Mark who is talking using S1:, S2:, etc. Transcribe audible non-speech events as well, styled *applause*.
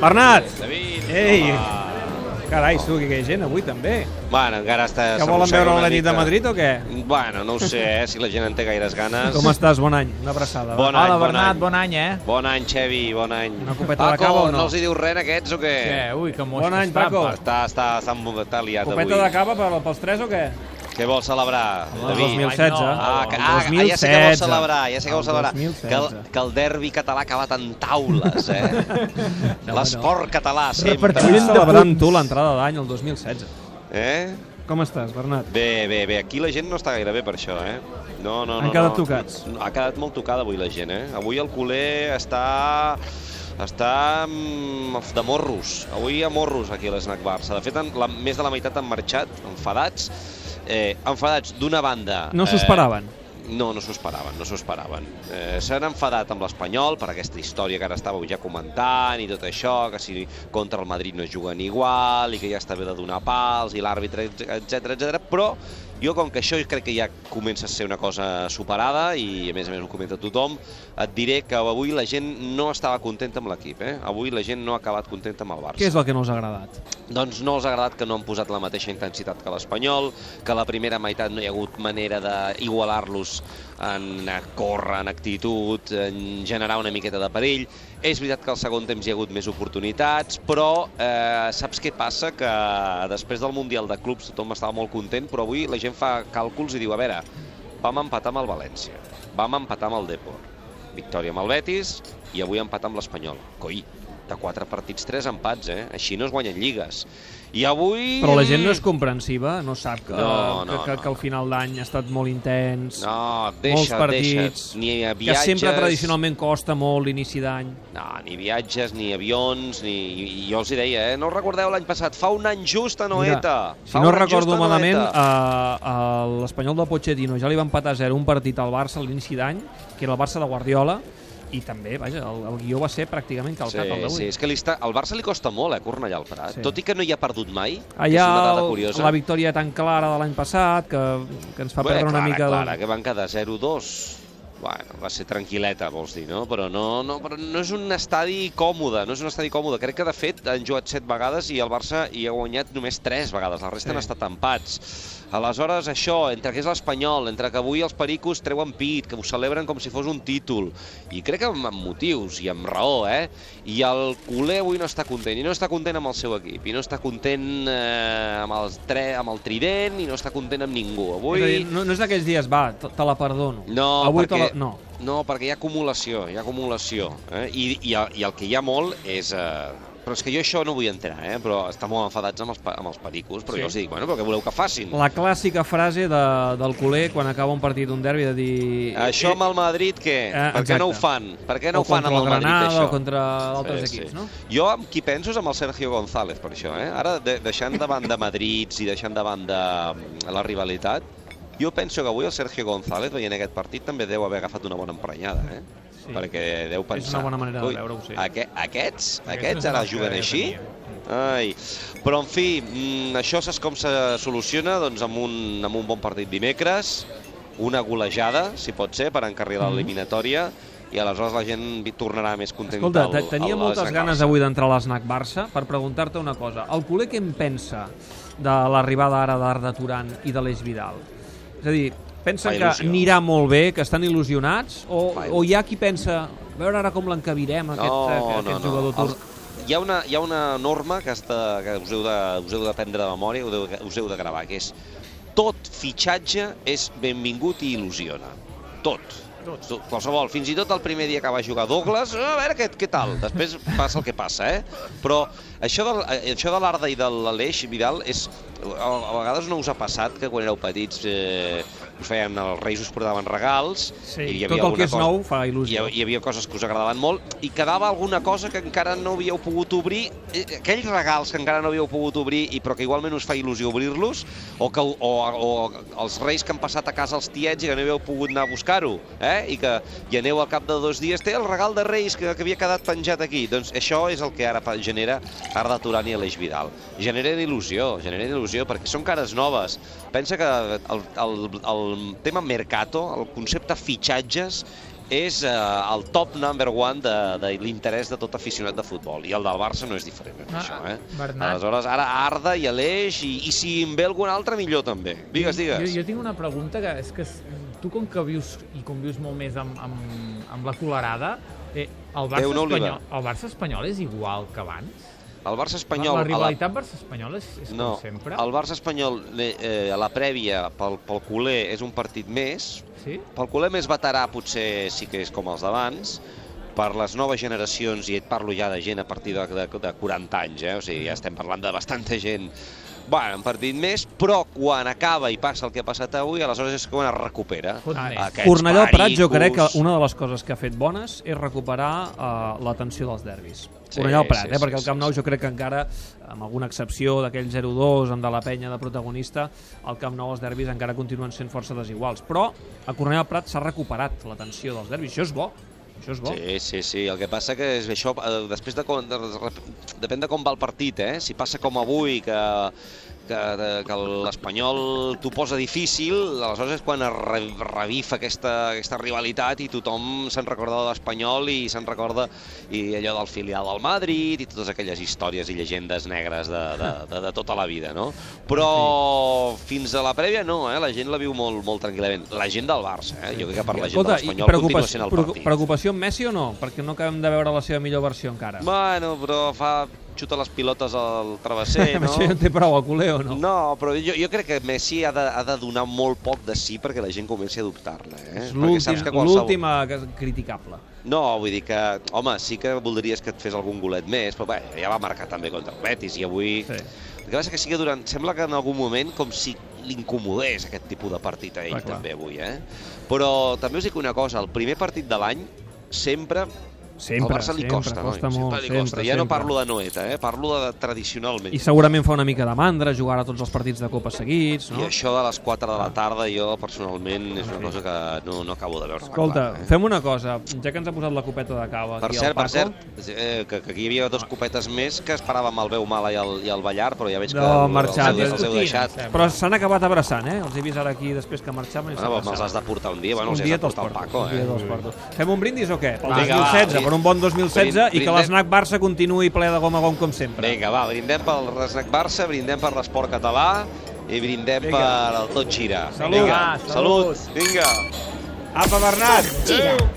S1: Bernat!
S2: David,
S1: Ei!
S2: home.
S1: Carai, tu, que hi ha gent avui, també.
S2: Bueno, encara està...
S1: Que volen veure la nit de Madrid o què?
S2: Bueno, no ho sé, eh, si la gent en té gaires ganes.
S1: Com estàs? Bon any. Una abraçada.
S2: Bon
S3: Hola,
S2: any, bon
S3: Bernat,
S2: any.
S3: bon any, eh?
S2: Bon any, Xevi, bon any.
S1: Una copeta de cava o no?
S2: no els hi diu res a aquests o què?
S3: Què? Eh, Ui, que mos
S1: Bon any,
S3: estampa.
S1: Paco.
S2: Està, està, està, està liat
S1: Copeta
S2: avui.
S1: de cava per, pels tres o què?
S2: Què vols celebrar,
S1: El
S2: David?
S1: 2016.
S3: Oh.
S2: Ah, que,
S1: El
S2: ah, ah, ja sé que vols
S1: 2016.
S2: celebrar, ja sé que vols
S1: El
S2: celebrar.
S1: 2016.
S2: Que el, que el derbi català ha acabat en taules,
S1: *laughs*
S2: eh?
S3: no.
S2: L'esport català, sempre.
S1: Vull celebrar amb tu l'entrada d'any, el 2016.
S2: Eh?
S1: Com estàs, Bernat?
S2: Bé, bé, bé, aquí la gent no està gaire bé per això, eh? No, no, no.
S1: Han quedat
S2: no.
S1: tocats.
S2: No, Ha quedat molt tocada avui la gent, eh? Avui el culer està... Està mm, de morros. Avui a morros aquí a l'Snac Barça. De fet, en, la, més de la meitat han marxat, enfadats. Eh, enfadats d'una banda...
S1: No s'ho
S2: eh,
S1: esperaven.
S2: No, no s'ho esperaven, no s'ho esperaven. Eh, S'han enfadat amb l'Espanyol per aquesta història que ara estàveu ja comentant i tot això, que si contra el Madrid no juguen igual i que ja està bé de donar pals i l'àrbitre, etc etc. però jo com que això crec que ja comença a ser una cosa superada i a més a més ho comenta tothom, et diré que avui la gent no estava contenta amb l'equip, eh? avui la gent no ha acabat contenta amb el Barça.
S1: Què és el que no us ha agradat?
S2: Doncs no els ha agradat que no han posat la mateixa intensitat que l'Espanyol, que a la primera meitat no hi ha hagut manera d'igualar-los en a córrer, en actitud, en generar una miqueta de perill. És veritat que al segon temps hi ha hagut més oportunitats, però eh, saps què passa? Que després del Mundial de Clubs tothom estava molt content, però avui la gent fa càlculs i diu, a veure, vam empatar amb el València, vam empatar amb el Depor, victòria amb el Betis i avui empatar amb l'Espanyol. Coi, de quatre partits, tres empats, eh? Així no es guanyen lligues. I avui...
S1: Però la gent no és comprensiva, no sap que,
S2: No, no,
S1: que, que,
S2: no.
S1: que el final d'any ha estat molt intens,
S2: No,
S1: molts
S2: deixa,
S1: partits,
S2: deixa. Ni a
S1: que
S2: viatges...
S1: sempre tradicionalment costa molt l'inici d'any.
S2: No, ni viatges, ni avions, ni... i Jo els hi deia, eh? No us recordeu l'any passat? Fa un any just a Noeta.
S1: Mira, si
S2: Fa
S1: no
S2: un any
S1: recordo
S2: just a
S1: malament,
S2: Noeta.
S1: a, a l'Espanyol de Pochettino ja li va empatar 0 un partit al Barça a l'inici d'any, que era el Barça de Guardiola, i també, vaja, el, el guió va ser pràcticament calcat el
S2: Sí, sí,
S1: d'avui.
S2: és que li està... al Barça li costa molt, eh, Cornellà al Prat.
S1: Sí.
S2: Tot i que no hi ha perdut mai, que és
S1: Allà
S2: una dada
S1: el-
S2: curiosa.
S1: la victòria tan clara de l'any passat que, que ens fa perdre una
S2: clara,
S1: mica
S2: Clara,
S1: de...
S2: que van quedar 0-2. Bueno, va ser tranquil·leta, vols dir, no? Però no, no, però no és un estadi còmode, no és un estadi còmode. Crec que, de fet, han jugat 7 vegades i el Barça hi ha guanyat només 3 vegades. La
S1: Sí.
S2: resta sí. han estat empats. Aleshores, això, entre que és l'Espanyol, entre que avui els pericos treuen pit, que ho celebren com si fos un títol, i crec que amb, amb motius i amb raó, eh? I el culer avui no està content, i no està content amb el seu equip, i no està content eh, amb, el tre, amb el trident, i no està content amb ningú. Avui...
S1: És a dir, no, no és d'aquells dies, va, te, te la perdono.
S2: No,
S1: Avui te
S2: perquè,
S1: la... No.
S2: no, perquè hi ha acumulació, hi ha acumulació. Eh? I, i, el, I el que hi ha molt és... Eh, però és que jo això no vull entrar, eh? però estan molt enfadats amb els, pa- amb els pericos,
S1: Sí.
S2: però sí. jo els dic, bueno, però què voleu que facin? La...
S1: La clàssica frase de, del culer quan acaba un partit d'un derbi de dir...
S2: Això amb el Madrid, què?
S1: Eh,
S2: per què no ho
S1: exacte.
S2: fan? Per què no
S1: o
S2: ho fan
S1: contra
S2: amb el Madrid,
S1: Granada,
S2: això?
S1: O contra altres equips, no?
S2: Jo amb qui penso és amb el Sergio González, per això, eh? Ara, de, deixant de banda Madrid i deixant de banda mm, la rivalitat, jo penso que avui el Sergio González, veient aquest partit, també deu haver agafat una bona emprenyada, eh?
S1: Sí.
S2: Sí. Perquè deu pensar...
S1: una bona manera de
S2: "Ui,
S1: veure-ho, sí."
S2: Aqu aquests?
S3: és
S2: Aquests
S3: la
S2: ara
S3: que
S2: juguen
S3: jo
S2: així?
S3: tenia.
S2: Ai. Però, en fi, mm, això saps com se soluciona? Doncs amb un, amb un bon partit dimecres, una golejada, si pot ser, per encarrilar
S1: Mhm.
S2: l'eliminatòria, i aleshores la gent vi- tornarà més contenta
S1: Escolta,
S2: al-
S1: te- tenia
S2: al- a
S1: moltes
S2: Snack
S1: ganes
S2: Barça.
S1: avui d'entrar a l'Snac Barça per preguntar-te una cosa. El culer què en pensa de l'arribada ara d'Arda Turan i de l'Eix Vidal? És a dir, pensen
S2: Fa
S1: que
S2: il·lusió.
S1: anirà molt bé, que estan il·lusionats, o,
S2: Fa
S1: o hi ha qui pensa, a veure ara com l'encabirem, aquest, eh, aquest jugador
S2: Els-
S1: turc?
S2: Hi ha, una, hi ha una norma que, està, que us, heu de, us heu de prendre de memòria, us heu, de- us heu de gravar, que és tot fitxatge és benvingut i il·lusiona. Tot. Tot. Qualsevol, fins i tot el primer dia que va jugar Douglas, a veure què, què tal. Després passa el que passa, eh? Però això de, això de l'Arda i de l'Aleix Vidal és... A, a vegades no us ha passat que quan éreu petits eh, us feien, els reis us portaven regals
S1: Sí,
S2: i hi havia
S1: tot el
S2: alguna
S1: que és
S2: cosa-
S1: nou fa
S2: hi,
S1: il·lusió.
S2: ha- hi havia coses que us agradaven molt i quedava alguna cosa que encara no havíeu pogut obrir, eh, aquells regals que encara no havíeu pogut obrir i però que igualment us fa il·lusió obrir-los, o, que, o, o els reis que han passat a casa els tiets i que no havíeu pogut anar a buscar-ho, eh? i que hi aneu al cap de dos dies, té el regal de reis que, que havia quedat penjat aquí. Doncs això és el que ara fa- genera Arda Turan i Aleix Vidal. Generen il·lusió, generen il·lusió, perquè són cares noves. Pensa que el, el, el tema mercato, el concepte fitxatges, és eh, el top number one de, de l'interès de tot aficionat de futbol. I el del Barça no és diferent, en
S3: Ah,
S2: això, eh?
S3: Bernat.
S2: Aleshores, ara Arda i Aleix, i, i si en ve algun altre, millor també. Digues, digues.
S3: Jo, jo tinc una pregunta que és que s- tu com que vius i convius molt més amb, amb, amb la colorada, eh, el, Barça
S2: Déu no li va.
S3: espanyol, el Barça espanyol és igual que abans?
S2: El Barça
S3: la,
S2: espanyol...
S3: la
S2: a
S3: rivalitat Barça-Espanyol és, és
S2: No,
S3: com sempre?
S2: el Barça espanyol eh, eh, a la prèvia pel, pel culer és un partit més,
S3: Sí?
S2: Pel culer més veterà potser sí que és com els d'abans, per les noves generacions, i et parlo ja de gent a partir de, de, de 40 anys, eh? o sigui, ja estem parlant de bastanta gent, bueno, un partit més, però quan acaba i passa el que ha passat avui, aleshores és quan es recupera.
S3: Fot més.
S2: Aquests
S1: Cornellà el Prat, jo
S2: pericos.
S1: crec que una de les coses que ha fet bones és recuperar eh, l'atenció dels derbis.
S2: Sí,
S1: Cornellà al Prat,
S2: sí,
S1: eh,
S2: sí,
S1: perquè el
S2: sí,
S1: Camp Nou
S2: sí.
S1: jo crec que encara, amb alguna excepció d'aquell 0-2, amb de la penya de protagonista, al Camp Nou els derbis encara continuen sent força desiguals. Però a Cornellà al Prat s'ha recuperat l'atenció dels derbis. Això és bo, això és bo.
S2: Sí, sí, sí. El que passa que és això, eh, després de com, de, de, depèn de com va el partit, eh? Si passa com avui, que, que, de, que l'Espanyol t'ho posa difícil, aleshores és quan es re, revifa aquesta, aquesta rivalitat i tothom se'n recorda de l'Espanyol i se'n recorda i allò del filial del Madrid i totes aquelles històries i llegendes negres de, de, de, de tota la vida, no? Però fins a la prèvia no, eh? La gent la viu molt, molt tranquil·lament. La gent del Barça, eh? Jo crec que per la gent de
S1: i
S2: l'Espanyol continua sent el
S1: preocu-
S2: partit.
S1: preocupació amb Messi o no? Perquè no acabem de veure la seva millor versió encara.
S2: Bueno, però fa xuta les pilotes al travesser,
S1: Amb
S2: no?
S1: *laughs* això ja en té prou a culer o no?
S2: No, però jo, jo crec que Messi ha de, ha de donar molt poc de sí perquè la gent comenci a dubtar-ne. Eh?
S1: És
S2: Perquè saps
S1: l'últim-
S2: que qualsevol-
S1: l'última que- criticable.
S2: No, vull dir que, home, sí que voldries que et fes algun golet més, però bé, ja va marcar també contra el Betis i avui...
S1: Sí.
S2: El que passa que sí que durant... Sembla que en algun moment com si l'incomodés aquest tipus de partit a ell
S1: Clar, clar.
S2: també avui, eh? Però també us dic una cosa, el primer partit de l'any sempre
S1: Sempre,
S2: al Barça li
S1: sempre,
S2: costa,
S1: costa
S2: no?
S1: molt,
S2: sempre li costa.
S1: sempre,
S2: ja no
S1: sempre.
S2: parlo de noeta, eh? parlo de, tradicionalment.
S1: I segurament fa una mica de mandra jugar a tots els partits de Copa seguits,
S2: I
S1: no?
S2: això de les 4 de la tarda, jo personalment, és una cosa que no, no acabo de veure.
S1: Escolta,
S2: clar, eh?
S1: fem una cosa, ja que ens ha posat la copeta de cava
S2: Per
S1: aquí
S2: cert,
S1: al
S2: per
S1: Paco,
S2: cert, eh, que, que aquí hi havia dos copetes més que esperàvem el Veu Mala i el, i el Ballar, però ja veig que
S1: No,
S2: el-
S1: han marxat,
S2: els, heu- els heu
S3: discutint,
S2: deixat.
S3: em
S1: Però s'han acabat abraçant, eh? Els he vist ara aquí després que marxaven i s'han
S2: Ah, Bueno, doncs me'ls has
S1: abraçat.
S2: de portar un dia, bueno,
S1: un
S2: els
S1: dia
S2: has de
S1: te'ls
S2: portar al
S1: porto,
S2: Paco,
S1: un dia te'ls
S2: eh?
S1: porto. Fem un brindis o què? Pel
S2: Vinga,
S1: 2016, per
S2: va, sí.
S1: un bon 2016
S2: Brind-
S1: i que
S2: brindem.
S1: l'esnac Barça continuï ple de gom a gom com sempre.
S2: Vinga, va, brindem pel Resnac Barça, brindem per l'esport català i brindem
S1: Vinga.
S2: per el Tot Gira.
S1: Salut.
S2: Vinga,
S3: Va,
S2: salut.
S3: salut.
S2: Vinga.
S1: Apa, Bernat!
S4: Gira.